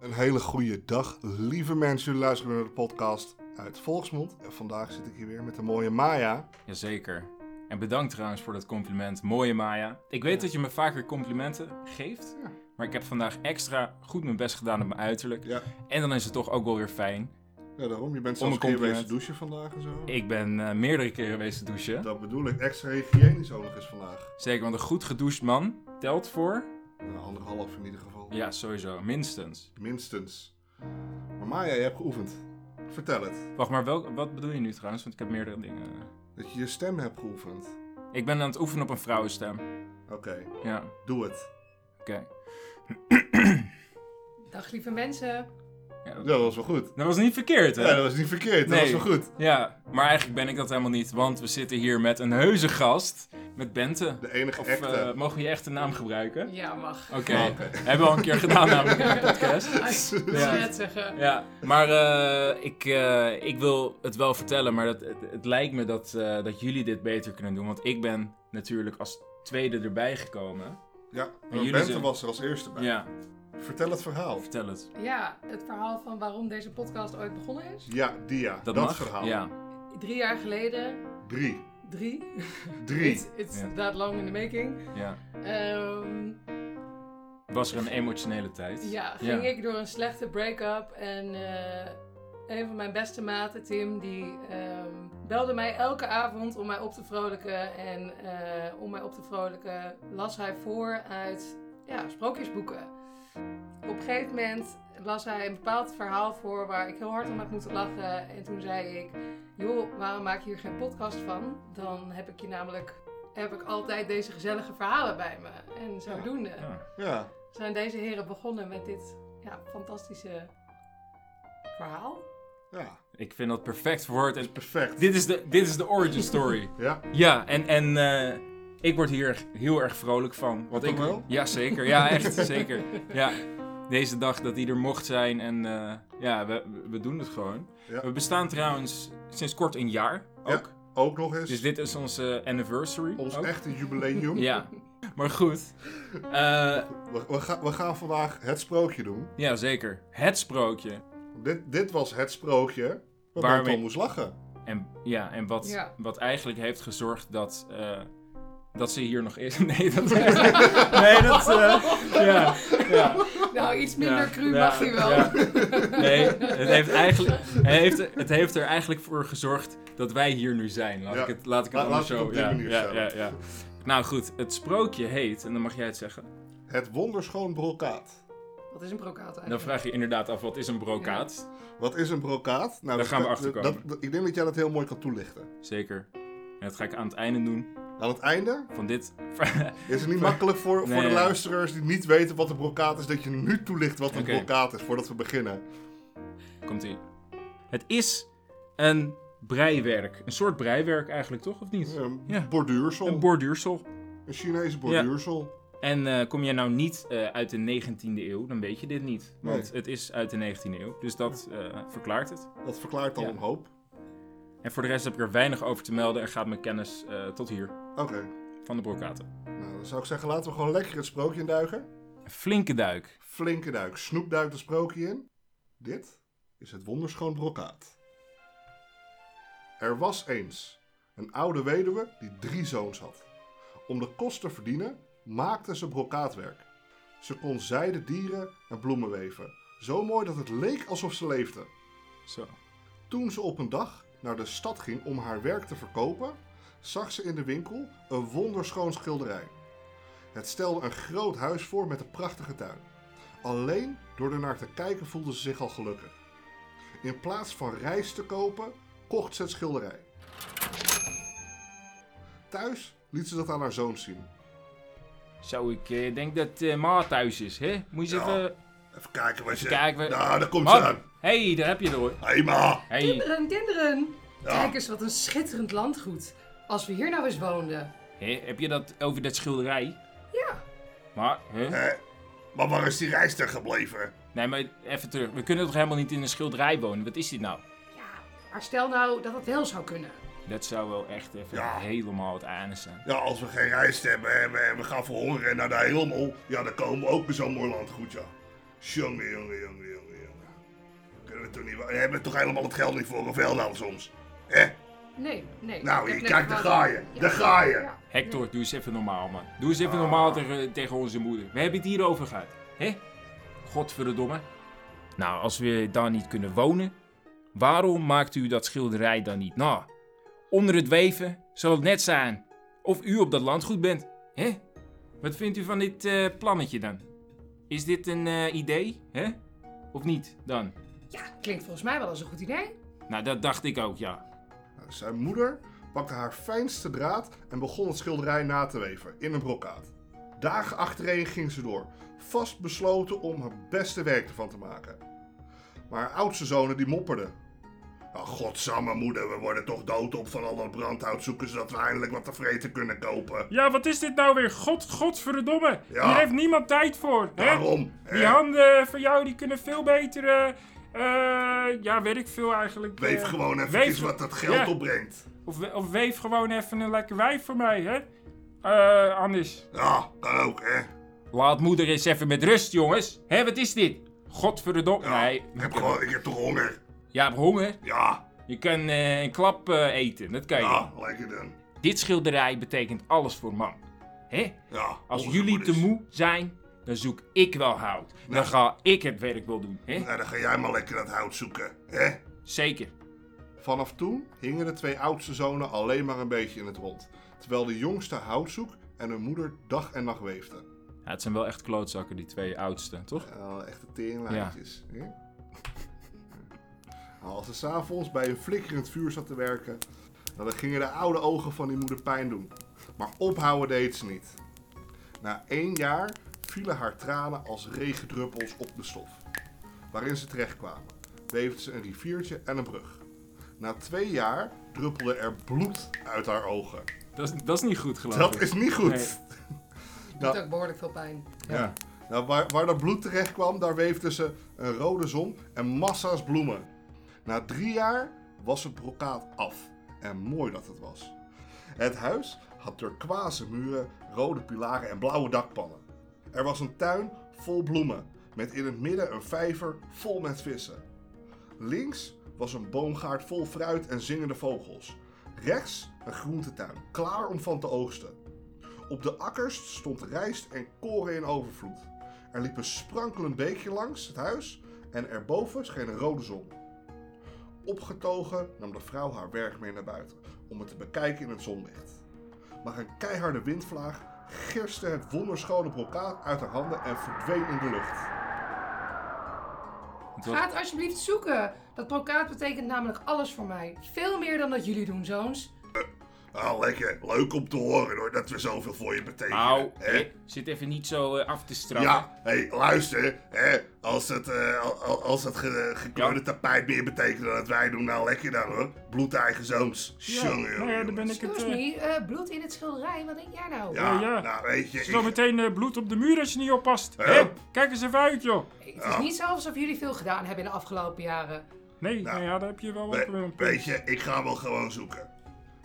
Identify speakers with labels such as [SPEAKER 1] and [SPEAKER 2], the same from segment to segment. [SPEAKER 1] Een hele goede dag, lieve mensen. Jullie luisteren naar de podcast uit Volksmond. En vandaag zit ik hier weer met de mooie Maya.
[SPEAKER 2] Jazeker. En bedankt trouwens voor dat compliment. Mooie Maya. Ik weet dat je me vaker complimenten geeft.
[SPEAKER 1] Ja.
[SPEAKER 2] Maar ik heb vandaag extra goed mijn best gedaan op mijn uiterlijk.
[SPEAKER 1] Ja,
[SPEAKER 2] En dan is het toch ook wel weer fijn.
[SPEAKER 1] ja daarom. Je bent
[SPEAKER 2] Om
[SPEAKER 1] zelfs
[SPEAKER 2] een
[SPEAKER 1] keer
[SPEAKER 2] compliment.
[SPEAKER 1] wezen douchen vandaag en zo.
[SPEAKER 2] Ik ben eh, meerdere keren geweest te douchen.
[SPEAKER 1] Dat bedoel ik. Extra hygiënisch ook nog eens vandaag.
[SPEAKER 2] Zeker, want een goed gedoucht man telt voor.
[SPEAKER 1] Nou, anderhalf in ieder geval.
[SPEAKER 2] Ja, sowieso. Minstens.
[SPEAKER 1] Minstens. Maar Maya, je hebt geoefend. Vertel het.
[SPEAKER 2] Wacht, maar welk, wat bedoel je nu trouwens? Want ik heb meerdere dingen.
[SPEAKER 1] Dat je je stem hebt geoefend.
[SPEAKER 2] Ik ben aan het oefenen op een vrouwenstem.
[SPEAKER 1] Oké,
[SPEAKER 2] Ja,
[SPEAKER 1] doe het.
[SPEAKER 2] oké.
[SPEAKER 3] Dag lieve mensen.
[SPEAKER 2] Ja,
[SPEAKER 1] Ja,
[SPEAKER 2] dat-
[SPEAKER 1] dat was wel goed.
[SPEAKER 2] dat was niet verkeerd, hè?
[SPEAKER 1] Ja, dat was niet verkeerd. Dat
[SPEAKER 2] Nee.
[SPEAKER 1] was wel goed.
[SPEAKER 2] Ja, maar eigenlijk ben ik dat helemaal niet, want we zitten hier met een heuse gast, met Bente.
[SPEAKER 1] De enige
[SPEAKER 2] Of
[SPEAKER 1] echte.
[SPEAKER 2] eh, mogen we je echte naam gebruiken?
[SPEAKER 3] Ja, mag.
[SPEAKER 2] Oké, hebben we al een keer gedaan namelijk in de podcast.
[SPEAKER 3] Als je
[SPEAKER 2] Ja.
[SPEAKER 3] het Ah, net zeggen.
[SPEAKER 2] Ja, maar eh, ik, eh, ik wil het wel vertellen, maar dat, het, het lijkt me dat, eh, dat jullie dit beter kunnen doen, want ik ben natuurlijk als tweede erbij gekomen.
[SPEAKER 1] Ja, maar
[SPEAKER 2] jullie
[SPEAKER 1] Bente
[SPEAKER 2] zijn-
[SPEAKER 1] was er als eerste bij.
[SPEAKER 2] Ja,
[SPEAKER 1] Vertel het verhaal.
[SPEAKER 2] vertel het.
[SPEAKER 3] Ja, het verhaal van waarom deze podcast ooit begonnen is.
[SPEAKER 1] Ja, Dia. Dat,
[SPEAKER 2] Dat, mag.
[SPEAKER 1] verhaal.
[SPEAKER 2] Ja,
[SPEAKER 3] Drie jaar geleden.
[SPEAKER 1] Drie.
[SPEAKER 3] Drie.
[SPEAKER 1] Drie.
[SPEAKER 3] It's, it's
[SPEAKER 2] Ja.
[SPEAKER 3] that long in the making.
[SPEAKER 2] ja.
[SPEAKER 3] Ehm,
[SPEAKER 2] Was er een emotionele tijd?
[SPEAKER 3] ja, ging ik door een slechte break-up. En eh, een van mijn beste maten, Tim, die ehm, belde mij elke avond om mij op te vrolijken. En eh, om mij op te vrolijken las hij voor uit ja, sprookjesboeken. Op een gegeven moment las hij een bepaald verhaal voor waar ik heel hard om heb moeten lachen. En toen zei ik, joh, waarom maak je hier geen podcast van? Dan heb ik je namelijk, heb ik altijd deze gezellige verhalen bij me. En zodoende
[SPEAKER 2] Ja.
[SPEAKER 1] Ja.
[SPEAKER 3] zijn deze heren begonnen met dit ja, fantastische verhaal.
[SPEAKER 1] Ja.
[SPEAKER 2] Ik vind dat perfect verwoord.
[SPEAKER 1] Dat
[SPEAKER 2] En
[SPEAKER 1] is perfect.
[SPEAKER 2] dit, is de, dit is de origin story.
[SPEAKER 1] Ja.
[SPEAKER 2] Ja, en, en eh, ik word hier heel erg vrolijk van. Wat
[SPEAKER 1] Toch
[SPEAKER 2] ik
[SPEAKER 1] wel?
[SPEAKER 2] Ja, zeker. Ja, echt, zeker. Ja, deze dag dat die er mocht zijn en eh, ja, we, we doen het gewoon.
[SPEAKER 1] Ja.
[SPEAKER 2] We bestaan trouwens sinds kort een jaar ook.
[SPEAKER 1] Ook nog eens.
[SPEAKER 2] Dus dit is onze anniversary.
[SPEAKER 1] ons
[SPEAKER 2] ook.
[SPEAKER 1] echte jubileum.
[SPEAKER 2] Ja, maar goed. Eh,
[SPEAKER 1] We, we, ga- we gaan vandaag het sprookje doen.
[SPEAKER 2] ja, zeker. Het sprookje.
[SPEAKER 1] Dit, dit was het sprookje waar,
[SPEAKER 2] Waar
[SPEAKER 1] men
[SPEAKER 2] we-
[SPEAKER 1] van moest lachen.
[SPEAKER 2] En, ja, en wat,
[SPEAKER 3] Ja.
[SPEAKER 2] wat eigenlijk heeft gezorgd dat, eh, dat ze hier nog is. Nee, dat... nee, dat... eh, ja, ja.
[SPEAKER 3] Nou, iets minder
[SPEAKER 2] Ja,
[SPEAKER 3] cru
[SPEAKER 2] ja,
[SPEAKER 3] mag hij wel.
[SPEAKER 2] ja. Nee, het heeft, eigenlijk, het, heeft, het heeft er eigenlijk voor gezorgd dat wij hier nu zijn. Laat
[SPEAKER 1] Ja.
[SPEAKER 2] ik het, laat ik het
[SPEAKER 1] Laat-
[SPEAKER 2] anders
[SPEAKER 1] laat het
[SPEAKER 2] zo.
[SPEAKER 1] op die
[SPEAKER 2] ja,
[SPEAKER 1] manier
[SPEAKER 2] ja, ja,
[SPEAKER 1] stellen.
[SPEAKER 2] ja. Nou goed, het sprookje heet, en dan mag jij het zeggen.
[SPEAKER 1] Het wonderschoon brokaat.
[SPEAKER 3] Wat is een brokaat
[SPEAKER 2] Dan
[SPEAKER 3] eigenlijk?
[SPEAKER 2] Nou, vraag je inderdaad af, wat is een brokaat?
[SPEAKER 1] Wat is een brokaat? Nou,
[SPEAKER 2] Daar
[SPEAKER 1] dat-
[SPEAKER 2] gaan we
[SPEAKER 1] dat-
[SPEAKER 2] achterkomen.
[SPEAKER 1] dat- dat- ik denk dat jij dat heel mooi kan toelichten.
[SPEAKER 2] Zeker. En dat ga ik aan het einde doen
[SPEAKER 1] Aan het einde
[SPEAKER 2] van dit.
[SPEAKER 1] is het niet makkelijk voor, voor
[SPEAKER 2] Nee.
[SPEAKER 1] de luisteraars die niet weten wat een brokaat is, dat je nu toelicht wat een
[SPEAKER 2] Oké.
[SPEAKER 1] brokaat is voordat we beginnen.
[SPEAKER 2] Komt ie. Het is een breiwerk. Een soort breiwerk eigenlijk, toch? Of niet?
[SPEAKER 1] Een
[SPEAKER 2] Ja.
[SPEAKER 1] borduursel.
[SPEAKER 2] Een borduursel.
[SPEAKER 1] een Chinese borduursel.
[SPEAKER 2] En eh, kom jij nou niet eh, uit de 19e eeuw, dan weet je dit niet.
[SPEAKER 1] Nee.
[SPEAKER 2] Want het is uit de 19e eeuw. Dus dat eh, verklaart het.
[SPEAKER 1] Dat verklaart al
[SPEAKER 2] Ja.
[SPEAKER 1] een hoop.
[SPEAKER 2] En voor de rest heb ik er weinig over te melden en gaat mijn kennis eh, tot hier
[SPEAKER 1] Oké.
[SPEAKER 2] van de brokaten.
[SPEAKER 1] Nou, dan zou ik zeggen, laten we gewoon lekker het sprookje induiken.
[SPEAKER 2] Een flinke duik.
[SPEAKER 1] Flinke duik. Snoep duikt het sprookje in. Dit is het wonderschoon brokaat. Er was eens een oude weduwe die drie zoons had. Om de kost te verdienen maakte ze brokaatwerk. Ze kon zijde dieren en bloemen weven. Zo mooi dat het leek alsof ze leefde.
[SPEAKER 2] Zo.
[SPEAKER 1] Toen ze op een dag naar de stad ging om haar werk te verkopen, zag ze in de winkel een wonderschoon schilderij. Het stelde een groot huis voor met een prachtige tuin. Alleen door ernaar te kijken voelde ze zich al gelukkig. In plaats van rijst te kopen, kocht ze het schilderij. Thuis liet ze dat aan haar zoon zien.
[SPEAKER 2] Zo, ik eh, denk dat eh Ma thuis is, hè? Moet je eens
[SPEAKER 1] Ja.
[SPEAKER 2] even
[SPEAKER 1] Even kijken wat je...
[SPEAKER 2] kijken. we-
[SPEAKER 1] Nou, daar komt
[SPEAKER 2] Ma-
[SPEAKER 1] ze aan.
[SPEAKER 2] hey, daar heb je er hoor.
[SPEAKER 1] Hé hey, ma.
[SPEAKER 2] Hey.
[SPEAKER 3] Kinderen, kinderen!
[SPEAKER 1] Ja.
[SPEAKER 3] Kijk eens wat een schitterend landgoed. Als we hier nou eens woonden.
[SPEAKER 2] Hé, heb je dat over dat schilderij?
[SPEAKER 3] Ja.
[SPEAKER 2] Maar, hè?
[SPEAKER 1] Hè? Eh, Maar waar is die rijst er gebleven?
[SPEAKER 2] Nee, maar even terug. We kunnen toch helemaal niet in een schilderij wonen? Wat is dit nou?
[SPEAKER 3] Ja, maar stel nou dat het wel zou kunnen.
[SPEAKER 2] Dat zou wel echt even
[SPEAKER 1] Ja.
[SPEAKER 2] helemaal het aan zijn.
[SPEAKER 1] Ja, als we geen rijst hebben en we, en we gaan verhongeren naar de hemel, ja, dan komen we ook bij zo'n mooi landgoed, ja. Jongen, jongen, jongen, jongen, jongen. Kunnen we toch niet... We hebben toch helemaal het geld niet voor een velden soms? Hè?
[SPEAKER 3] Nee, nee.
[SPEAKER 1] Nou,
[SPEAKER 3] Ik
[SPEAKER 1] je
[SPEAKER 3] heb
[SPEAKER 1] kijkt, daar
[SPEAKER 3] net
[SPEAKER 1] ga je.
[SPEAKER 3] gewoon- Ja.
[SPEAKER 1] Daar ga je.
[SPEAKER 3] Ja.
[SPEAKER 2] Hector, doe eens even normaal, man. Doe eens even normaal tegen, tegen onze moeder. We hebben het hierover gehad. Hé? Godverdomme. Nou, als we daar niet kunnen wonen, waarom maakt u dat schilderij dan niet na? Onder het weven zal het net zijn of u op dat landgoed bent. Hé? Wat vindt u van dit eh, plannetje dan? Is dit een eh, idee? Hè? Of niet dan?
[SPEAKER 3] Ja, klinkt volgens mij wel als een goed idee.
[SPEAKER 2] Nou, dat dacht ik ook, ja.
[SPEAKER 1] Nou, Zijn moeder pakte haar fijnste draad en begon het schilderij na te weven in een brokaat. Dagen achtereen ging ze door, vastbesloten om haar beste werk ervan te maken. Maar haar oudste zonen die mopperden. Nou, godsamme moeder, we worden toch dood op van al dat brandhout zoeken zodat we eindelijk wat te vreten kunnen kopen.
[SPEAKER 2] Ja, wat is dit nou weer? God, godverdomme.
[SPEAKER 1] Ja. Hier heeft
[SPEAKER 2] niemand tijd voor.
[SPEAKER 1] Daarom,
[SPEAKER 2] Die
[SPEAKER 1] hè?
[SPEAKER 2] handen van jou die kunnen veel beter. eh, eh, ja, weet ik veel eigenlijk.
[SPEAKER 1] Weef
[SPEAKER 2] eh,
[SPEAKER 1] gewoon even
[SPEAKER 2] weef-
[SPEAKER 1] iets wat dat geld
[SPEAKER 2] ja.
[SPEAKER 1] opbrengt.
[SPEAKER 2] Of, we- of weef gewoon even een lekker wijf voor mij, hè? Eh, anders.
[SPEAKER 1] Ja, kan ook, hè?
[SPEAKER 2] Laat moeder eens even met rust, jongens. Hé, wat is dit? Godverdomme.
[SPEAKER 1] Ja,
[SPEAKER 2] Nee.
[SPEAKER 1] ik, heb gewoon, ik heb toch honger?
[SPEAKER 2] Je hebt honger.
[SPEAKER 1] Ja,
[SPEAKER 2] Je kan eh, een klap eh, eten. Dat kan je.
[SPEAKER 1] ja, lekker dan.
[SPEAKER 2] Dit schilderij betekent alles voor man. Hè?
[SPEAKER 1] Ja,
[SPEAKER 2] Als
[SPEAKER 1] onze
[SPEAKER 2] jullie te
[SPEAKER 1] moeders.
[SPEAKER 2] moe zijn, dan zoek ik wel hout. Dan ga ik het werk wel doen. Hè?
[SPEAKER 1] Nou, dan ga jij maar lekker dat hout zoeken, hè?
[SPEAKER 2] Zeker.
[SPEAKER 1] Vanaf toen hingen de twee oudste zonen alleen maar een beetje in het rond, terwijl de jongste hout zoek en hun moeder dag en nacht weefde.
[SPEAKER 2] Ja, het zijn wel echt klootzakken, die twee oudsten, toch?
[SPEAKER 1] Eh, echte teringlijntjes. hè? Nou, als ze s'avonds bij een flikkerend vuur zat te werken, nou, dan gingen de oude ogen van die moeder pijn doen. Maar ophouden deed ze niet. Na één jaar vielen haar tranen als regendruppels op de stof. Waarin ze terechtkwamen, weefden ze een riviertje en een brug. Na twee jaar druppelde er bloed uit haar ogen.
[SPEAKER 2] Dat is, dat is niet goed, geloof
[SPEAKER 1] Oh, Dat
[SPEAKER 2] ik.
[SPEAKER 1] is niet goed.
[SPEAKER 2] Nee.
[SPEAKER 3] Doet ook behoorlijk veel pijn.
[SPEAKER 1] Ja. Nou, waar, waar dat bloed terecht kwam, daar weefden ze een rode zon en massa's bloemen. Na drie jaar was het brokaat af. En mooi dat het was. Het huis had turquoise muren, rode pilaren en blauwe dakpannen. Er was een tuin vol bloemen, met in het midden een vijver vol met vissen. Links was een boomgaard vol fruit en zingende vogels. Rechts een groentetuin, klaar om van te oogsten. Op de akkers stond rijst en koren in overvloed. Er liep een sprankelend beekje langs het huis en erboven scheen een rode zon. Opgetogen nam de vrouw haar werk mee naar buiten om het te bekijken in het zonlicht. Maar een keiharde windvlaag gerste het wonderschone brokaat uit haar handen en verdween in de lucht.
[SPEAKER 2] Het was-
[SPEAKER 3] Ga het alsjeblieft zoeken. Dat brokaat betekent namelijk alles voor mij. Veel meer dan dat jullie doen, zoons.
[SPEAKER 1] Ah, lekker. Leuk om te horen hoor, dat we zoveel voor je betekenen.
[SPEAKER 2] Au,
[SPEAKER 1] hè?
[SPEAKER 2] hè? Nou, zit even niet zo eh, af te straffen.
[SPEAKER 1] Ja, hey, luister. Hè, als het, eh, al- al- als het ge- gekleurde
[SPEAKER 2] Ja.
[SPEAKER 1] tapijt meer betekent dan dat wij doen, nou lekker dan hoor. Bloed eigen zoons. Jongen, jongen,
[SPEAKER 2] nou ja, daar ben
[SPEAKER 1] jongens.
[SPEAKER 2] ik het...
[SPEAKER 3] Excuse
[SPEAKER 2] eh,
[SPEAKER 3] me, eh, bloed in het schilderij, wat denk jij nou?
[SPEAKER 1] Ja,
[SPEAKER 2] Oh, ja.
[SPEAKER 1] nou weet je. ik-
[SPEAKER 2] Zometeen eh, bloed op de muur als je niet oppast.
[SPEAKER 1] Hup.
[SPEAKER 2] Hè? Kijk eens even uit, joh.
[SPEAKER 3] Het is niet zo alsof jullie veel gedaan hebben in de afgelopen jaren.
[SPEAKER 2] Nee, nou ja, daar heb je wel ook weer
[SPEAKER 1] we-
[SPEAKER 2] een punt.
[SPEAKER 1] weet je, ik ga wel gewoon zoeken.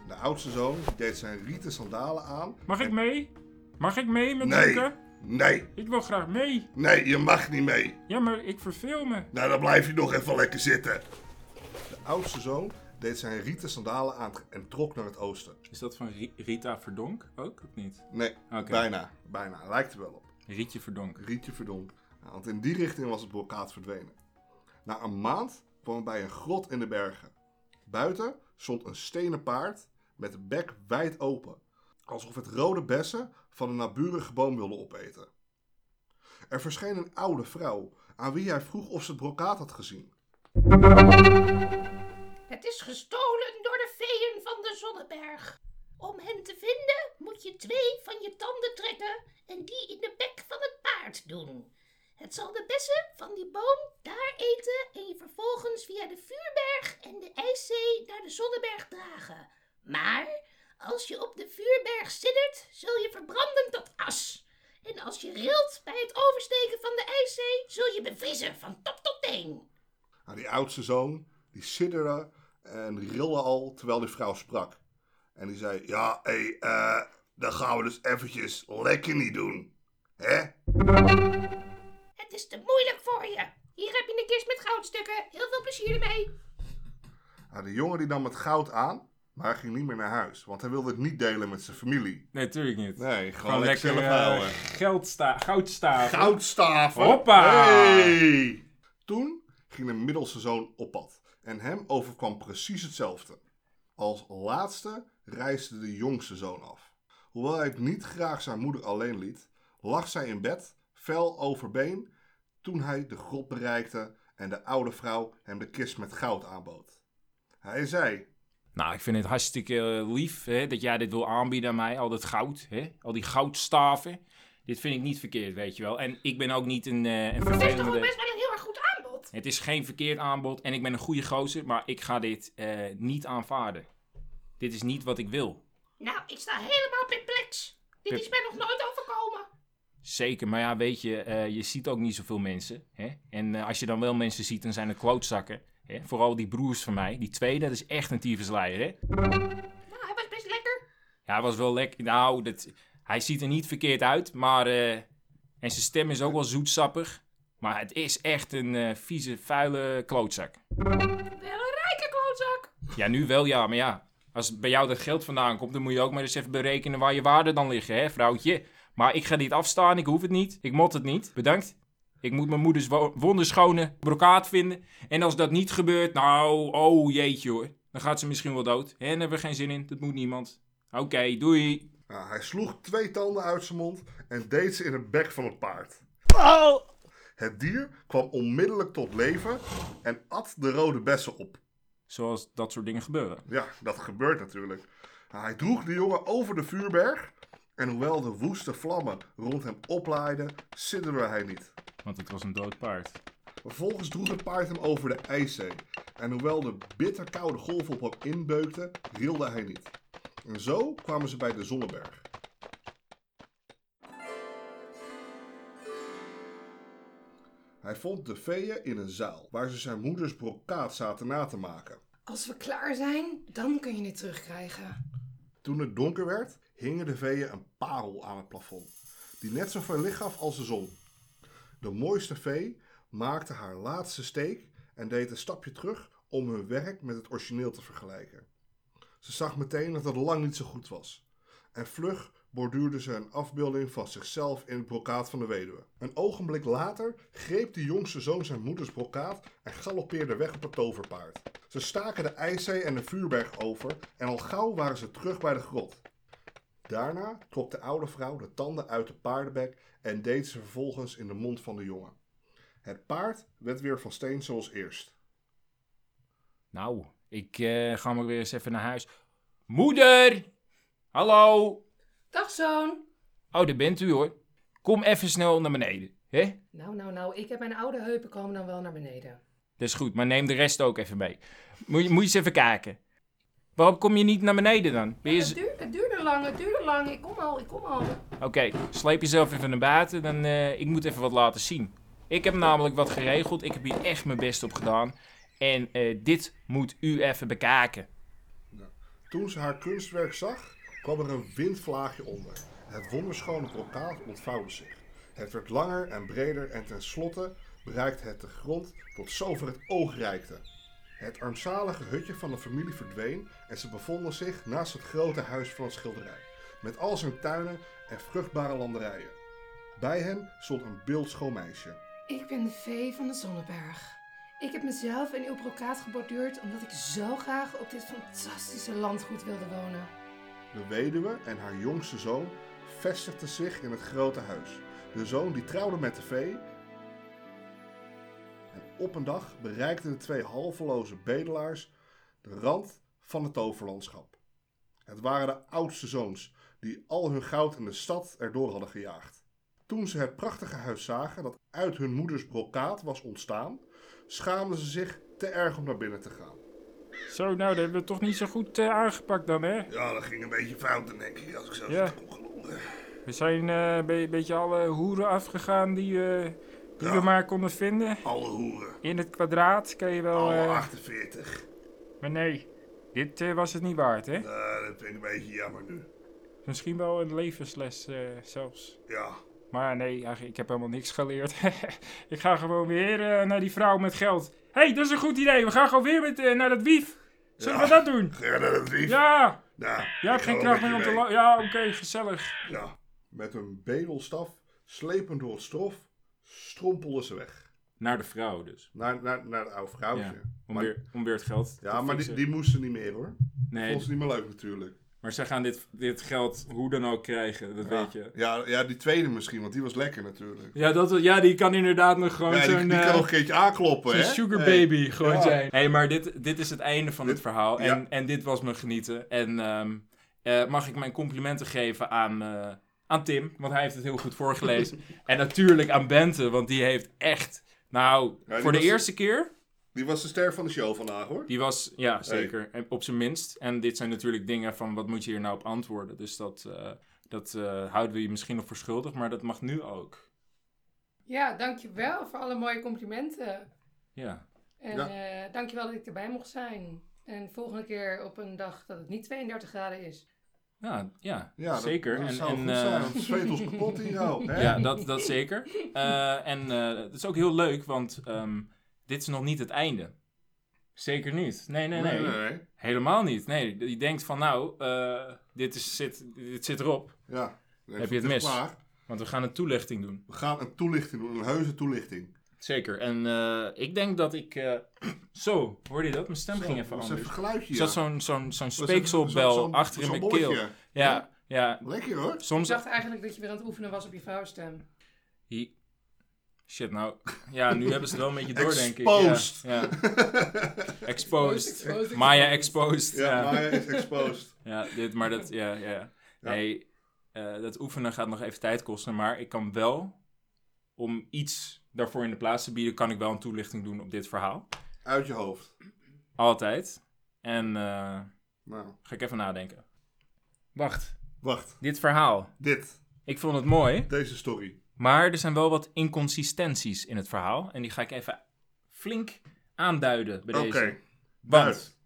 [SPEAKER 1] De oudste zoon deed zijn rieten sandalen aan.
[SPEAKER 2] Mag ik mee? Mag ik mee met
[SPEAKER 1] Nee,
[SPEAKER 2] zoeken?
[SPEAKER 1] nee,
[SPEAKER 2] Ik wil graag mee.
[SPEAKER 1] nee, je mag niet mee.
[SPEAKER 2] Ja, maar ik verveel me.
[SPEAKER 1] Nou, dan blijf je nog even lekker zitten. De oudste zoon deed zijn rieten sandalen aan en trok naar het oosten.
[SPEAKER 2] Is dat van Rita Verdonk ook, of niet?
[SPEAKER 1] Nee,
[SPEAKER 2] Oké.
[SPEAKER 1] bijna, bijna. Lijkt er wel op.
[SPEAKER 2] Rietje Verdonk.
[SPEAKER 1] Rietje verdonk. Nou, Want in die richting was het blokaat verdwenen. Na een maand kwamen we bij een grot in de bergen. Buiten stond een stenen paard met de bek wijd open, alsof het rode bessen van een naburige boom wilde opeten. Er verscheen een oude vrouw aan wie hij vroeg of ze het brokaat had gezien.
[SPEAKER 4] Het is gestolen door de feeën van de Zonneberg. Om hen te vinden moet je twee van je tanden trekken en die in de bek van het paard doen. Het zal de bessen van die boom daar eten en je vervolgens via de vuurberg en de ijszee naar de Zonneberg dragen. Maar als je op de vuurberg siddert, zul je verbranden tot as. En als je rilt bij het oversteken van de ijszee, zul je bevriezen van top tot teen.
[SPEAKER 1] Nou, die oudste zoon, die sidderde en rilde al terwijl die vrouw sprak. En die zei, ja, hé, eh, dat gaan we dus eventjes lekker niet doen. Hè?
[SPEAKER 4] Het is te moeilijk voor je. Hier heb je een kist met goudstukken. Heel veel plezier ermee.
[SPEAKER 1] Nou, de jongen die nam het goud aan, maar hij ging niet meer naar huis, want hij wilde het niet delen met zijn familie.
[SPEAKER 2] Nee, tuurlijk niet.
[SPEAKER 1] Nee, eh, gewoon,
[SPEAKER 2] Gewoon lekker
[SPEAKER 1] zelf
[SPEAKER 2] uh,
[SPEAKER 1] houden.
[SPEAKER 2] geldsta goudstaven.
[SPEAKER 1] Goudstaven.
[SPEAKER 2] Hoppa.
[SPEAKER 1] Hey. Toen ging de middelste zoon op pad. En hem overkwam precies hetzelfde. Als laatste reisde de jongste zoon af. Hoewel hij het niet graag zijn moeder alleen liet, lag zij in bed, fel overbeen, toen hij de grot bereikte en de oude vrouw hem de kist met goud aanbood. Hij zei,
[SPEAKER 2] Nou, ik vind het hartstikke eh, lief hè, dat jij dit wil aanbieden aan mij. Al dat goud, hè? al die goudstaven. Dit vind ik niet verkeerd, weet je wel. En ik ben ook niet een, eh een
[SPEAKER 4] Het is toch ook
[SPEAKER 2] vervelende...
[SPEAKER 4] best wel een heel erg goed aanbod.
[SPEAKER 2] Het is geen verkeerd aanbod en ik ben een goede gozer, maar ik ga dit eh, niet aanvaarden. Dit is niet wat ik wil.
[SPEAKER 4] Nou, ik sta helemaal perplex. Dit
[SPEAKER 2] Pip.
[SPEAKER 4] is mij nog nooit overkomen.
[SPEAKER 2] Zeker, maar ja, weet je, eh, je ziet ook niet zoveel mensen. Hè? En eh, als je dan wel mensen ziet, dan zijn het klootzakken. Hè? Vooral die broers van mij. Die twee, dat is echt een tyfusleier, hè?
[SPEAKER 4] Nou, hij was best lekker.
[SPEAKER 2] Ja, hij was wel lekker. Nou, dat, hij ziet er niet verkeerd uit, maar... eh, en zijn stem is ook wel zoetsappig. Maar het is echt een eh, vieze, vuile klootzak.
[SPEAKER 4] Een hele rijke klootzak.
[SPEAKER 2] Ja, nu wel ja, maar ja. Als bij jou dat geld vandaan komt, dan moet je ook maar eens even berekenen waar je waarden dan liggen, hè, vrouwtje. Maar ik ga dit afstaan, ik hoef het niet, ik mot het niet, bedankt. Ik moet mijn moeders wo- wonderschone brokaat vinden. En als dat niet gebeurt, nou, oh jeetje hoor. Dan gaat ze misschien wel dood. En daar hebben we geen zin in, dat moet niemand. Oké, doei.
[SPEAKER 1] Nou, hij sloeg twee tanden uit zijn mond en deed ze in het bek van het paard. Het dier kwam onmiddellijk tot leven en at de rode bessen op.
[SPEAKER 2] Zoals dat soort dingen gebeuren.
[SPEAKER 1] Ja, dat gebeurt natuurlijk. Nou, hij droeg de jongen over de vuurberg en hoewel de woeste vlammen rond hem oplaaiden, sidderde hij niet.
[SPEAKER 2] Want het was een dood paard.
[SPEAKER 1] Vervolgens droeg het paard hem over de ijszee. En hoewel de bitterkoude golven op hem inbeukten, rilde hij niet. En zo kwamen ze bij de Zonneberg. Hij vond de feeën in een zaal, waar ze zijn moeders brokaat zaten na te maken.
[SPEAKER 3] Als we klaar zijn, dan kun je dit terugkrijgen.
[SPEAKER 1] Toen het donker werd, hingen de veeën een parel aan het plafond, die net zoveel licht gaf als de zon. De mooiste vee maakte haar laatste steek en deed een stapje terug om hun werk met het origineel te vergelijken. Ze zag meteen dat het lang niet zo goed was. En vlug borduurde ze een afbeelding van zichzelf in het brokaat van de weduwe. Een ogenblik later greep de jongste zoon zijn moeders brokaat en galoppeerde weg op het toverpaard. Ze staken de ijszee en de vuurberg over en al gauw waren ze terug bij de grot. Daarna trok de oude vrouw de tanden uit de paardenbek en deed ze vervolgens in de mond van de jongen. Het paard werd weer van steen zoals eerst.
[SPEAKER 2] Nou, ik eh, ga maar weer eens even naar huis. Moeder! Hallo!
[SPEAKER 3] Dag zoon.
[SPEAKER 2] Oh, daar bent u hoor. Kom even snel naar beneden. Hè?
[SPEAKER 3] Nou, nou, nou, ik heb mijn oude heupen komen dan wel naar beneden.
[SPEAKER 2] Dat is goed, maar neem de rest ook even mee. Moet je, moet je eens even kijken. Waarom kom je niet naar beneden dan? Ben je
[SPEAKER 3] Het,
[SPEAKER 2] z-
[SPEAKER 3] duur, het duurde lang, het duurde lang. Ik kom al, ik kom al.
[SPEAKER 2] Oké, sleep jezelf even naar buiten. Dan, eh, ik moet even wat laten zien. Ik heb namelijk wat geregeld. Ik heb hier echt mijn best op gedaan. En eh, dit moet u even bekijken.
[SPEAKER 1] Toen ze haar kunstwerk zag, kwam er een windvlaagje onder. Het wonderschone brokaat ontvouwde zich. Het werd langer en breder en tenslotte bereikte het de grond tot zover het oog reikte. Het armzalige hutje van de familie verdween en ze bevonden zich naast het grote huis van het schilderij, met al zijn tuinen en vruchtbare landerijen. Bij hen stond een beeldschoon meisje.
[SPEAKER 3] Ik ben de vee van de Zonneberg. Ik heb mezelf in uw brokaat geborduurd omdat ik zo graag op dit fantastische landgoed wilde wonen.
[SPEAKER 1] De weduwe en haar jongste zoon vestigden zich in het grote huis. De zoon die trouwde met de vee. En op een dag bereikten de twee halveloze bedelaars de rand van het toverlandschap. Het waren de oudste zoons die al hun goud in de stad erdoor hadden gejaagd. Toen ze het prachtige huis zagen dat uit hun moeders brokaat was ontstaan, schaamden ze zich te erg om naar binnen te gaan.
[SPEAKER 2] Zo, nou, dat hebben we toch niet zo goed eh, aangepakt dan, hè?
[SPEAKER 1] Ja, dat ging een beetje fout, denk ik, als ik zo
[SPEAKER 2] Ja.
[SPEAKER 1] zit te koekeloeren.
[SPEAKER 2] We zijn eh, een be- beetje alle hoeren afgegaan die, eh, die
[SPEAKER 1] Ja.
[SPEAKER 2] we maar konden vinden.
[SPEAKER 1] Alle hoeren.
[SPEAKER 2] In het kwadraat kan je wel.
[SPEAKER 1] Alle
[SPEAKER 2] eh,
[SPEAKER 1] 48.
[SPEAKER 2] maar nee, dit eh, was het niet waard, hè?
[SPEAKER 1] Eh, dat vind ik een beetje jammer nu.
[SPEAKER 2] Misschien wel een levensles eh, zelfs.
[SPEAKER 1] Ja,
[SPEAKER 2] Maar nee, eigenlijk, ik heb helemaal niks geleerd. ik ga gewoon weer eh, naar die vrouw met geld. Hé, hey, dat is een goed idee. We gaan gewoon weer met, eh, naar dat wief. Zullen we dat doen?
[SPEAKER 1] Ga jij naar dat lief?
[SPEAKER 2] Ja!
[SPEAKER 1] Nou,
[SPEAKER 2] Jij hebt geen kracht meer om te lopen. Ja, oké, gezellig.
[SPEAKER 1] Ja. Met een bedelstaf, slepend door het stof, strompelen ze weg.
[SPEAKER 2] Naar de vrouw dus.
[SPEAKER 1] Naar, naar, naar het oude vrouwtje.
[SPEAKER 2] Ja, om,
[SPEAKER 1] Oh, maar,
[SPEAKER 2] weer, om weer het geld te
[SPEAKER 1] ja, maar die,
[SPEAKER 2] fixen.
[SPEAKER 1] die moesten niet meer hoor.
[SPEAKER 2] Nee,
[SPEAKER 1] Vond ze niet meer leuk natuurlijk.
[SPEAKER 2] maar zij gaan dit, dit geld hoe dan ook krijgen, dat
[SPEAKER 1] Ja.
[SPEAKER 2] weet je.
[SPEAKER 1] Ja, ja, die tweede misschien, want die was lekker natuurlijk.
[SPEAKER 2] Ja, dat, ja, die kan inderdaad nog gewoon
[SPEAKER 1] Ja, die,
[SPEAKER 2] zo'n...
[SPEAKER 1] die kan
[SPEAKER 2] eh,
[SPEAKER 1] nog een keertje aankloppen, hè?
[SPEAKER 2] Een sugar
[SPEAKER 1] Hey.
[SPEAKER 2] baby gewoon
[SPEAKER 1] Ja.
[SPEAKER 2] zijn. Hé, hey, maar dit, dit is het einde van het
[SPEAKER 1] Dit-
[SPEAKER 2] verhaal. En,
[SPEAKER 1] ja.
[SPEAKER 2] en dit was me genieten. En ehm, eh, mag ik mijn complimenten geven aan, eh, aan Tim, want hij heeft het heel goed voorgelezen. en natuurlijk aan Bente, want die heeft echt... Nou,
[SPEAKER 1] Ja, die
[SPEAKER 2] voor de
[SPEAKER 1] was-
[SPEAKER 2] eerste keer,
[SPEAKER 1] Die was de ster van de show vandaag, hoor.
[SPEAKER 2] die was, ja zeker, en op zijn minst. En dit zijn natuurlijk dingen van, wat moet je hier nou op antwoorden? Dus dat, eh, dat eh, houden we je misschien nog voor schuldig, maar dat mag nu ook.
[SPEAKER 3] Ja, dankjewel voor alle mooie complimenten.
[SPEAKER 2] Ja,
[SPEAKER 3] En
[SPEAKER 1] Ja.
[SPEAKER 3] eh dankjewel dat ik erbij mocht zijn. En volgende keer op een dag dat het niet 32 graden is.
[SPEAKER 2] ja, ja,
[SPEAKER 1] Ja, dat-
[SPEAKER 2] zeker.
[SPEAKER 1] Dat,
[SPEAKER 2] en,
[SPEAKER 1] zou
[SPEAKER 2] en,
[SPEAKER 1] goed
[SPEAKER 2] eh,
[SPEAKER 1] zijn, want het zweet ons kapot hier nou. Hè?
[SPEAKER 2] Ja, dat, dat zeker. Eh, en eh, het is ook heel leuk, want ehm, dit is nog niet het einde. Zeker niet. Nee, nee, nee. Helemaal niet. Nee, je denkt van nou, eh, dit, is, zit, dit zit erop.
[SPEAKER 1] Ja. Nee,
[SPEAKER 2] Heb je het
[SPEAKER 1] is
[SPEAKER 2] mis?
[SPEAKER 1] Klaar.
[SPEAKER 2] Want we gaan een toelichting doen.
[SPEAKER 1] We gaan een toelichting doen, een heuse toelichting.
[SPEAKER 2] Zeker. En eh, ik denk dat ik... eh, Zo, hoorde je dat? Mijn stem ging even
[SPEAKER 1] Dat is even
[SPEAKER 2] anders.
[SPEAKER 1] een geluidje.
[SPEAKER 2] Er
[SPEAKER 1] ja.
[SPEAKER 2] zat zo'n zo'n zo'n
[SPEAKER 1] Dat is even zo'n-
[SPEAKER 2] speekselbel
[SPEAKER 1] zo'n-
[SPEAKER 2] achter in
[SPEAKER 1] zo'n
[SPEAKER 2] mijn keel.
[SPEAKER 1] bolletje.
[SPEAKER 2] Ja, ja.
[SPEAKER 1] Lekker hoor.
[SPEAKER 3] Ik
[SPEAKER 2] Soms...
[SPEAKER 3] dacht eigenlijk dat je weer aan het oefenen was op je vrouwenstem.
[SPEAKER 2] Hi- Shit, nou... Ja, nu hebben ze het wel een beetje door, denk ik. Ja,
[SPEAKER 1] Exposed.
[SPEAKER 2] ja. Exposed.
[SPEAKER 3] Exposed.
[SPEAKER 2] Maya exposed.
[SPEAKER 1] Ja,
[SPEAKER 2] Ja,
[SPEAKER 1] Maya is exposed.
[SPEAKER 2] ja dit, maar dat, ja, ja. Nee, eh, dat oefenen gaat nog even tijd kosten, maar ik kan wel, om iets daarvoor in de plaats te bieden, kan ik wel een toelichting doen op dit verhaal.
[SPEAKER 1] Uit je hoofd.
[SPEAKER 2] Altijd. En eh,
[SPEAKER 1] Nou,
[SPEAKER 2] ga ik even nadenken. Wacht,
[SPEAKER 1] wacht.
[SPEAKER 2] dit verhaal.
[SPEAKER 1] Dit.
[SPEAKER 2] Ik vond het mooi,
[SPEAKER 1] Deze story.
[SPEAKER 2] maar er zijn wel wat inconsistenties in het verhaal. En die ga ik even flink aanduiden bij
[SPEAKER 1] Oké.
[SPEAKER 2] deze.
[SPEAKER 1] Duid.
[SPEAKER 2] Want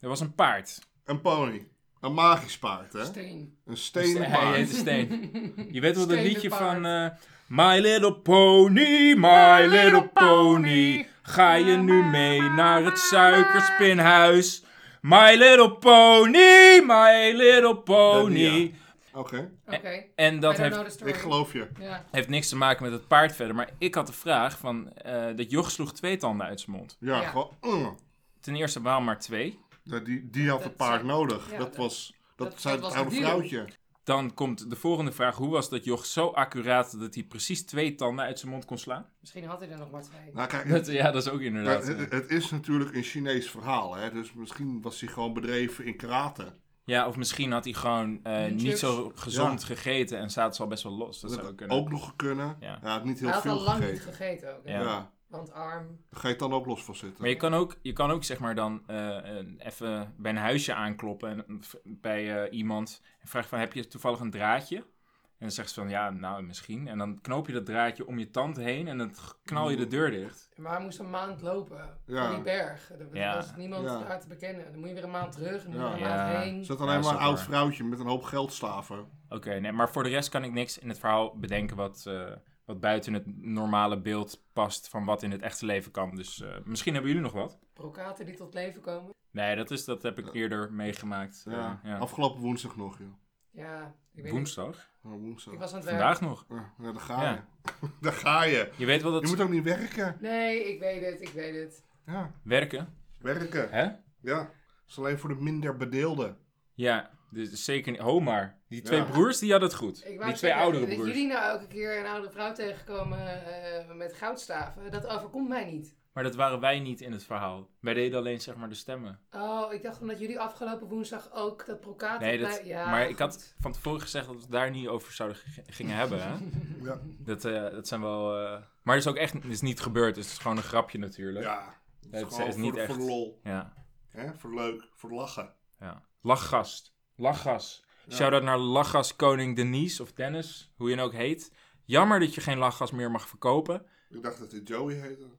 [SPEAKER 2] er was een paard.
[SPEAKER 1] Een pony. Een magisch paard, hè?
[SPEAKER 3] Steen.
[SPEAKER 1] Een stenen
[SPEAKER 2] Hij heette
[SPEAKER 1] paard.
[SPEAKER 2] Steen. Je weet wel dat
[SPEAKER 3] Stenen
[SPEAKER 2] liedje
[SPEAKER 3] paard.
[SPEAKER 2] van... eh, my little pony, my little pony. Ga je nu mee naar het suikerspinhuis? My little pony, my little
[SPEAKER 1] Dat
[SPEAKER 2] pony.
[SPEAKER 1] die, Oké,
[SPEAKER 3] Oké.
[SPEAKER 2] En
[SPEAKER 3] I
[SPEAKER 2] dat
[SPEAKER 3] don't know
[SPEAKER 2] heeft,
[SPEAKER 3] the story.
[SPEAKER 1] ik geloof je.
[SPEAKER 3] Ja.
[SPEAKER 2] heeft niks te maken met het paard verder. Maar ik had de vraag van... eh, dat joch sloeg twee tanden uit zijn mond.
[SPEAKER 1] Ja,
[SPEAKER 3] Ja.
[SPEAKER 1] gewoon... mm.
[SPEAKER 2] Ten eerste, waarom maar twee?
[SPEAKER 1] Ja, die, die had
[SPEAKER 3] Dat
[SPEAKER 1] het paard
[SPEAKER 3] zei-
[SPEAKER 1] nodig.
[SPEAKER 3] ja,
[SPEAKER 1] dat
[SPEAKER 3] dat-
[SPEAKER 1] was... Dat,
[SPEAKER 3] dat-
[SPEAKER 1] zei
[SPEAKER 3] dat
[SPEAKER 1] het
[SPEAKER 3] was
[SPEAKER 1] oude
[SPEAKER 3] de deal.
[SPEAKER 1] vrouwtje.
[SPEAKER 2] Dan komt de volgende vraag. Hoe was dat joch zo accuraat dat hij precies twee tanden uit zijn mond kon slaan?
[SPEAKER 3] Misschien had hij er nog maar twee.
[SPEAKER 1] Nou, kijk,
[SPEAKER 2] Dat, ja, dat is ook inderdaad...
[SPEAKER 1] Nou, het,
[SPEAKER 2] eh,
[SPEAKER 1] het is natuurlijk een Chinees verhaal, hè? Dus misschien was hij gewoon bedreven in karate.
[SPEAKER 2] Ja, of misschien had hij gewoon eh,
[SPEAKER 3] Een
[SPEAKER 2] niet
[SPEAKER 3] chips.
[SPEAKER 2] zo gezond gegeten en zaten ze al best wel los. Dat,
[SPEAKER 1] Dat
[SPEAKER 2] zou
[SPEAKER 1] had
[SPEAKER 2] kunnen.
[SPEAKER 1] ook nog kunnen.
[SPEAKER 2] Ja.
[SPEAKER 1] Ja. Hij had niet heel
[SPEAKER 3] Hij had
[SPEAKER 1] veel
[SPEAKER 3] al lang niet
[SPEAKER 1] gegeten.
[SPEAKER 3] gegeten ook. hè?
[SPEAKER 2] Ja.
[SPEAKER 1] ja.
[SPEAKER 3] Want arm.
[SPEAKER 1] daar ga je het dan ook los van zitten.
[SPEAKER 2] Maar je kan ook, je kan ook zeg maar dan eh, een- even bij een huisje aankloppen en, een v- bij eh, iemand en vragen van heb je toevallig een draadje? En dan zegt ze van ja, nou misschien. En dan knoop je dat draadje om je tand heen en dan g- knal je de deur dicht.
[SPEAKER 3] Maar hij moest een maand lopen.
[SPEAKER 1] Ja.
[SPEAKER 3] Van die berg. Er was
[SPEAKER 2] Ja.
[SPEAKER 3] niemand
[SPEAKER 1] Ja.
[SPEAKER 3] daar te bekennen. Dan moet je weer een maand terug. En dan
[SPEAKER 1] Ja.
[SPEAKER 3] weer een maand
[SPEAKER 2] Ja.
[SPEAKER 3] heen.
[SPEAKER 1] Zet
[SPEAKER 2] Ja,
[SPEAKER 1] alleen
[SPEAKER 2] is
[SPEAKER 1] maar een
[SPEAKER 2] dat
[SPEAKER 1] oud
[SPEAKER 2] waar.
[SPEAKER 1] vrouwtje met een hoop geldstaven.
[SPEAKER 2] Oké, nee, maar voor de rest kan ik niks in het verhaal bedenken wat, eh, wat buiten het normale beeld past van wat in het echte leven kan. Dus eh, misschien hebben jullie nog wat.
[SPEAKER 3] Brokaten die tot leven komen.
[SPEAKER 2] Nee, dat, is, dat heb ik eerder meegemaakt. eh,
[SPEAKER 1] Ja.
[SPEAKER 2] ja.
[SPEAKER 1] Afgelopen woensdag nog, joh.
[SPEAKER 3] Ja. Ik weet niet.
[SPEAKER 2] Woensdag?
[SPEAKER 1] Ja, woensdag.
[SPEAKER 3] Ik was aan het werk.
[SPEAKER 2] Vandaag nog.
[SPEAKER 1] Ja, ja, daar ga
[SPEAKER 2] Ja.
[SPEAKER 1] je. daar ga je.
[SPEAKER 2] Je weet wel dat
[SPEAKER 1] Je moet ook niet werken.
[SPEAKER 3] Nee, ik weet het. Ik weet het.
[SPEAKER 1] Ja,
[SPEAKER 2] werken,
[SPEAKER 1] werken.
[SPEAKER 2] hè?
[SPEAKER 1] Ja. Dat is alleen voor de minder bedeelden.
[SPEAKER 2] Ja, dus zeker niet. Ho maar. Die twee
[SPEAKER 1] Ja.
[SPEAKER 2] broers, die hadden het goed.
[SPEAKER 3] Ik
[SPEAKER 2] Die
[SPEAKER 3] wou
[SPEAKER 2] twee
[SPEAKER 3] zeggen,
[SPEAKER 2] oudere
[SPEAKER 3] dat
[SPEAKER 2] broers.
[SPEAKER 3] jullie nou elke keer een oudere vrouw tegenkomen eh, met goudstaven. Dat overkomt mij niet.
[SPEAKER 2] Maar dat waren wij niet in het verhaal. Wij deden alleen zeg maar de stemmen.
[SPEAKER 3] Oh, ik dacht omdat jullie afgelopen woensdag ook dat brokaat...
[SPEAKER 2] Nee, dat,
[SPEAKER 3] op mij- Ja,
[SPEAKER 2] maar ik
[SPEAKER 3] goed.
[SPEAKER 2] had van tevoren gezegd dat we het daar niet over zouden g- gingen hebben. Hè?
[SPEAKER 1] Ja.
[SPEAKER 2] Dat, eh, dat zijn wel. eh, Maar dat is ook echt dat is niet gebeurd. Dus het is gewoon een grapje natuurlijk.
[SPEAKER 1] Ja. Dat
[SPEAKER 2] Het
[SPEAKER 1] is
[SPEAKER 2] is
[SPEAKER 1] gewoon voor,
[SPEAKER 2] niet
[SPEAKER 1] de-
[SPEAKER 2] echt.
[SPEAKER 1] voor de lol.
[SPEAKER 2] ja.
[SPEAKER 1] Hè? Voor leuk. Voor lachen.
[SPEAKER 2] ja. Lachgast. Lachgas. Shout-out naar Lachgas Koning Denise of Dennis, hoe je hem ook heet. Jammer dat je geen lachgas meer mag verkopen.
[SPEAKER 1] Ik dacht dat dit Joey heette.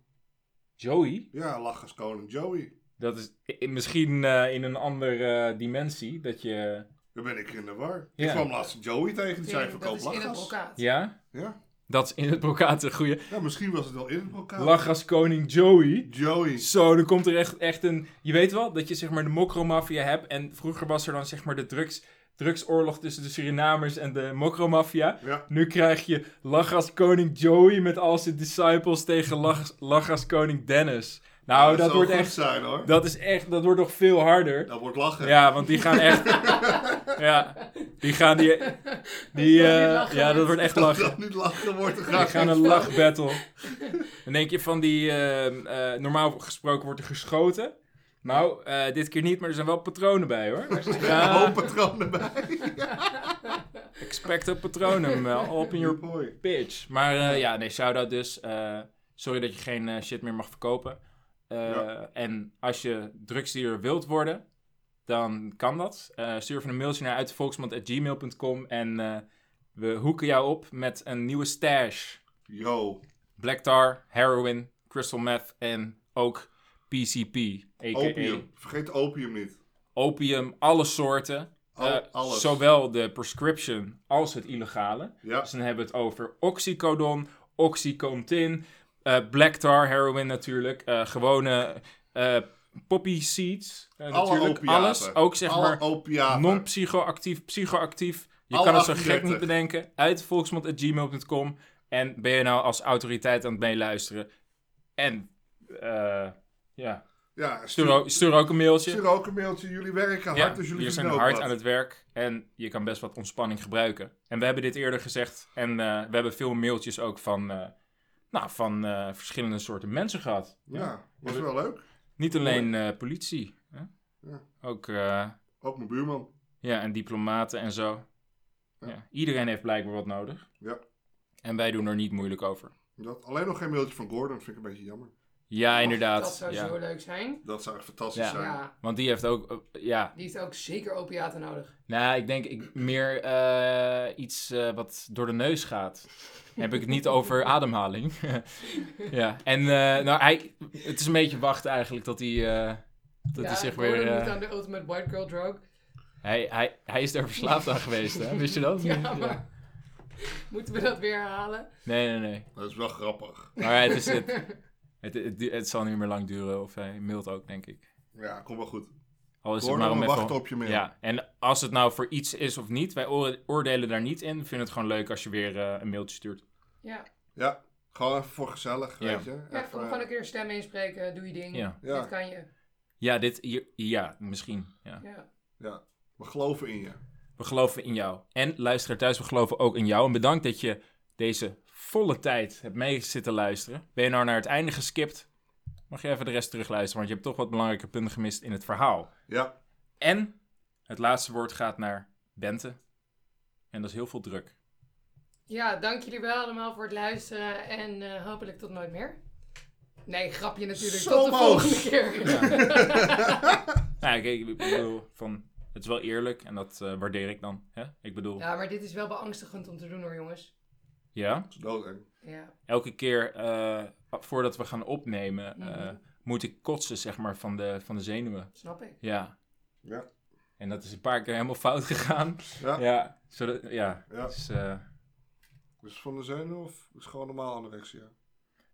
[SPEAKER 2] Joey,
[SPEAKER 1] Ja, lachen is koning Joey.
[SPEAKER 2] Dat is i- misschien eh, in een andere eh, dimensie. Dat je.
[SPEAKER 1] Daar ben ik in de war.
[SPEAKER 2] Ja.
[SPEAKER 1] Ik kwam laatst Joey tegen, die zei
[SPEAKER 3] dat
[SPEAKER 1] verkoop
[SPEAKER 3] is in het
[SPEAKER 1] lachgas.
[SPEAKER 3] brokaat.
[SPEAKER 2] Ja?
[SPEAKER 1] Ja.
[SPEAKER 2] Dat is in het brokaat een goede.
[SPEAKER 1] Ja, misschien was het wel in het brokaat.
[SPEAKER 2] Lach als koning Joey.
[SPEAKER 1] Joey.
[SPEAKER 2] Zo, dan komt er echt, echt een... Je weet wel, dat je zeg maar de mokromafia hebt. En vroeger was er dan zeg maar de drugs, drugsoorlog tussen de Surinamers en de mokromafia.
[SPEAKER 1] Ja.
[SPEAKER 2] Nu krijg je Lach als koning Joey met al zijn disciples tegen Lach, Lach als koning Dennis. Nou, dat,
[SPEAKER 1] zou
[SPEAKER 2] wordt
[SPEAKER 1] Oh, goed
[SPEAKER 2] echt...
[SPEAKER 1] zijn hoor. Dat,
[SPEAKER 2] Dat is echt... Dat wordt nog veel harder.
[SPEAKER 1] wordt lachen.
[SPEAKER 2] Ja, want die gaan echt... ja, die gaan die... die
[SPEAKER 3] Dat is
[SPEAKER 2] eh,
[SPEAKER 3] niet lachen,
[SPEAKER 2] ja, dat
[SPEAKER 3] hè?
[SPEAKER 2] wordt echt
[SPEAKER 1] Dat
[SPEAKER 2] lachen.
[SPEAKER 1] dat niet lachen wordt, dan
[SPEAKER 2] We
[SPEAKER 1] ga
[SPEAKER 2] gaan een lachbattle. Dan denk je van die... ehm, eh, normaal gesproken wordt er geschoten. Nou, eh, dit keer niet, maar er zijn wel patronen bij, hoor.
[SPEAKER 1] een
[SPEAKER 2] Ja,
[SPEAKER 1] hoop patronen bij.
[SPEAKER 2] expecto patronum eh, op in your
[SPEAKER 1] boy.
[SPEAKER 2] pitch. Maar eh, ja, nee, shout-out dus. Eh, sorry dat je geen eh, shit meer mag verkopen. Eh,
[SPEAKER 1] Ja.
[SPEAKER 2] En als je drugsdealer wilt worden, dan kan dat. Eh, stuur even een mailtje naar uitvolksmand.gmail.com en eh, we hoeken jou op met een nieuwe stash.
[SPEAKER 1] Yo.
[SPEAKER 2] Black tar, heroin, crystal meth en ook PCP, a.k.a.
[SPEAKER 1] Opium. Vergeet opium niet.
[SPEAKER 2] opium, alle soorten.
[SPEAKER 1] Al-
[SPEAKER 2] Eh,
[SPEAKER 1] alles.
[SPEAKER 2] Zowel de prescription als het illegale.
[SPEAKER 1] Ja.
[SPEAKER 2] Dus dan hebben we het over oxycodon, oxycontin, eh black tar, heroin natuurlijk, eh, gewone eh, poppy seeds. eh,
[SPEAKER 1] Alle
[SPEAKER 2] natuurlijk
[SPEAKER 1] opiaten.
[SPEAKER 2] alles, ook zeg
[SPEAKER 1] Alle
[SPEAKER 2] maar
[SPEAKER 1] opiaten.
[SPEAKER 2] non-psychoactief, psychoactief. Je
[SPEAKER 1] Alle
[SPEAKER 2] kan het zo
[SPEAKER 1] 38.
[SPEAKER 2] gek niet bedenken. Uit volksmond.gmail.com en ben je nou als autoriteit aan het meeluisteren. En eh, ja,
[SPEAKER 1] Ja,
[SPEAKER 2] stuur,
[SPEAKER 1] stuur,
[SPEAKER 2] ook- stuur ook een mailtje.
[SPEAKER 1] stuur ook een mailtje. Jullie werken
[SPEAKER 2] Ja,
[SPEAKER 1] hard, dus jullie
[SPEAKER 2] we zijn
[SPEAKER 1] verdienen ook
[SPEAKER 2] hard
[SPEAKER 1] wat.
[SPEAKER 2] aan het werk en je kan best wat ontspanning gebruiken. En we hebben dit eerder gezegd en eh, we hebben veel mailtjes ook van, eh, nou, van eh, verschillende soorten mensen gehad.
[SPEAKER 1] Ja, was wel leuk.
[SPEAKER 2] Niet alleen eh, politie, hè?
[SPEAKER 1] Ja.
[SPEAKER 2] ook eh,
[SPEAKER 1] Ook mijn buurman.
[SPEAKER 2] ja, en diplomaten en zo. Ja. Iedereen heeft blijkbaar wat nodig
[SPEAKER 1] Ja.
[SPEAKER 2] en wij doen er niet moeilijk over.
[SPEAKER 1] Dat, alleen nog geen mailtje van Gordon, vind ik een beetje jammer.
[SPEAKER 2] Ja,
[SPEAKER 3] Dat
[SPEAKER 2] inderdaad.
[SPEAKER 3] zou
[SPEAKER 2] ja.
[SPEAKER 3] zo leuk zijn.
[SPEAKER 1] Dat zou echt fantastisch
[SPEAKER 2] Ja.
[SPEAKER 1] zijn.
[SPEAKER 3] Ja,
[SPEAKER 2] Want die heeft ook, eh, ja,
[SPEAKER 3] die heeft ook zeker opiaten nodig.
[SPEAKER 2] Nou, ik denk ik, meer eh, iets eh, wat door de neus gaat. Heb ik het niet over ademhaling. ja, en eh, nou, hij, het is een beetje wachten eigenlijk dat hij, eh, dat hij
[SPEAKER 3] ja,
[SPEAKER 2] zich
[SPEAKER 3] Gordon
[SPEAKER 2] weer... eh,
[SPEAKER 3] moet aan de ultimate white girl drug.
[SPEAKER 2] hij, hij, hij is daar verslaafd aan geweest, hè? Wist je dat?
[SPEAKER 3] Ja, maar... Moeten we dat weer herhalen?
[SPEAKER 2] Nee, nee, nee.
[SPEAKER 1] Dat is wel grappig.
[SPEAKER 2] Maar het, is, het, het, het, du- het zal niet meer lang duren. Of hij mailt ook, denk ik.
[SPEAKER 1] Ja, komt wel goed.
[SPEAKER 2] Al is het
[SPEAKER 1] Gordon,
[SPEAKER 2] maar om
[SPEAKER 1] we
[SPEAKER 2] even...
[SPEAKER 1] wachten op je mail.
[SPEAKER 2] Ja, en als het nou voor iets is of niet, wij oor- oordelen daar niet in. We vinden het gewoon leuk als je weer eh, een mailtje stuurt.
[SPEAKER 3] Ja,
[SPEAKER 1] Ja, gewoon even voor gezellig,
[SPEAKER 2] Ja.
[SPEAKER 1] weet je.
[SPEAKER 3] ja
[SPEAKER 1] Even,
[SPEAKER 3] kom gewoon een keer stem inspreken, doe je ding.
[SPEAKER 2] Ja.
[SPEAKER 1] eh, Ja.
[SPEAKER 3] Dit kan je.
[SPEAKER 2] Ja, dit, hier- ja misschien. Ja.
[SPEAKER 3] Ja.
[SPEAKER 1] ja, we geloven in je.
[SPEAKER 2] We geloven in jou. En luisteraar thuis, we geloven ook in jou. En bedankt dat je deze volle tijd hebt meezitten luisteren. Ben je nou naar het einde geskipt, mag je even de rest terugluisteren. Want je hebt toch wat belangrijke punten gemist in het verhaal.
[SPEAKER 1] Ja,
[SPEAKER 2] En het laatste woord gaat naar Bente. En dat is heel veel druk.
[SPEAKER 3] ja, dank jullie wel allemaal voor het luisteren en eh, hopelijk tot nooit meer. Nee, grapje natuurlijk.
[SPEAKER 1] Zo
[SPEAKER 3] tot de
[SPEAKER 1] boos.
[SPEAKER 3] volgende keer.
[SPEAKER 2] Nou, ja, kijk, ik bedoel, van, het is wel eerlijk en dat eh, waardeer ik dan. Hè? Ik bedoel, ja.
[SPEAKER 3] Ja, maar dit is wel beangstigend om te doen hoor, jongens.
[SPEAKER 1] dat is doodeng.
[SPEAKER 3] Ja.
[SPEAKER 2] elke keer eh, voordat we gaan opnemen, eh,
[SPEAKER 3] Mhm.
[SPEAKER 2] moet ik kotsen, zeg maar, van de, van de zenuwen.
[SPEAKER 3] Snap ik.
[SPEAKER 2] Ja.
[SPEAKER 1] Ja.
[SPEAKER 2] En dat is een paar keer helemaal fout gegaan.
[SPEAKER 1] Ja.
[SPEAKER 2] Ja. Zodat, ja.
[SPEAKER 1] Ja.
[SPEAKER 2] Dus, eh,
[SPEAKER 1] Dus van de zenuw of is het gewoon normaal anorexia?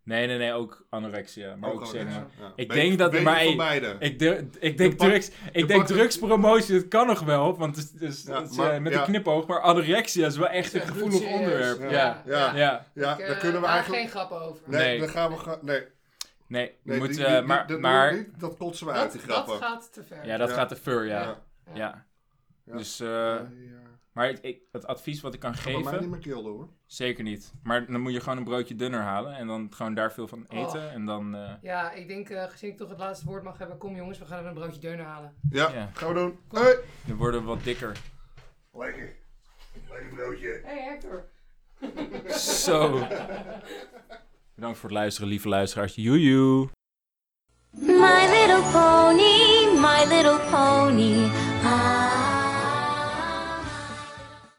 [SPEAKER 2] nee, nee, nee, ook anorexia. Maar ook,
[SPEAKER 1] anorexia.
[SPEAKER 2] zenuwen.
[SPEAKER 1] Ja.
[SPEAKER 2] Ik
[SPEAKER 1] Beetje-
[SPEAKER 2] denk dat er
[SPEAKER 1] beetje
[SPEAKER 2] maar
[SPEAKER 1] van
[SPEAKER 2] één-
[SPEAKER 1] beide.
[SPEAKER 2] Ik, de- ik denk,
[SPEAKER 1] pakt-
[SPEAKER 2] drugs, ik denk
[SPEAKER 1] pakt het-
[SPEAKER 2] drugspromotie, dat kan nog wel, want het is, het is-
[SPEAKER 1] Ja,
[SPEAKER 2] het is,
[SPEAKER 1] maar-
[SPEAKER 2] eh, met
[SPEAKER 1] ja.
[SPEAKER 2] een knipoog, maar anorexia is wel echt een
[SPEAKER 3] Ja,
[SPEAKER 2] gevoelig
[SPEAKER 3] bloedserieus.
[SPEAKER 2] onderwerp. Ja,
[SPEAKER 1] Ja.
[SPEAKER 2] ja.
[SPEAKER 1] Ja. ja,
[SPEAKER 3] Ik, eh,
[SPEAKER 1] daar kunnen we
[SPEAKER 3] maak
[SPEAKER 1] eigenlijk...
[SPEAKER 3] geen grap over.
[SPEAKER 1] Nee,
[SPEAKER 2] Nee.
[SPEAKER 1] daar gaan we... ga- Nee,
[SPEAKER 2] nee, we
[SPEAKER 1] nee die-
[SPEAKER 2] moeten,
[SPEAKER 1] die-
[SPEAKER 2] eh,
[SPEAKER 1] die-
[SPEAKER 2] maar,
[SPEAKER 1] dat
[SPEAKER 2] maar
[SPEAKER 1] doen we niet, dat kotsen we uit,
[SPEAKER 3] Dat,
[SPEAKER 1] die
[SPEAKER 3] dat
[SPEAKER 1] grappen.
[SPEAKER 3] gaat te ver.
[SPEAKER 2] ja, dat
[SPEAKER 1] Ja.
[SPEAKER 2] gaat te ver, ja. Ja.
[SPEAKER 1] Ja. Ja.
[SPEAKER 2] Dus, eh,
[SPEAKER 1] ja.
[SPEAKER 2] maar het, ik- het advies wat ik kan
[SPEAKER 1] Bij mij
[SPEAKER 2] geven,
[SPEAKER 1] niet meer keelden hoor.
[SPEAKER 2] zeker niet. Maar dan moet je gewoon een broodje dunner halen en dan gewoon daar veel van eten en dan... eh,
[SPEAKER 3] Ja, ik denk, eh, gezien ik toch het laatste woord mag hebben, kom jongens, we gaan even een broodje deunen halen.
[SPEAKER 1] Ja,
[SPEAKER 2] Ja.
[SPEAKER 1] gaan we doen. Hoi!
[SPEAKER 2] Dan worden we wat dikker.
[SPEAKER 1] Lekker. Lekker broodje.
[SPEAKER 3] Hey Hector.
[SPEAKER 2] Zo. Bedankt voor het luisteren, lieve luisteraars. Joejoe.
[SPEAKER 5] My little pony, my little pony. Ah.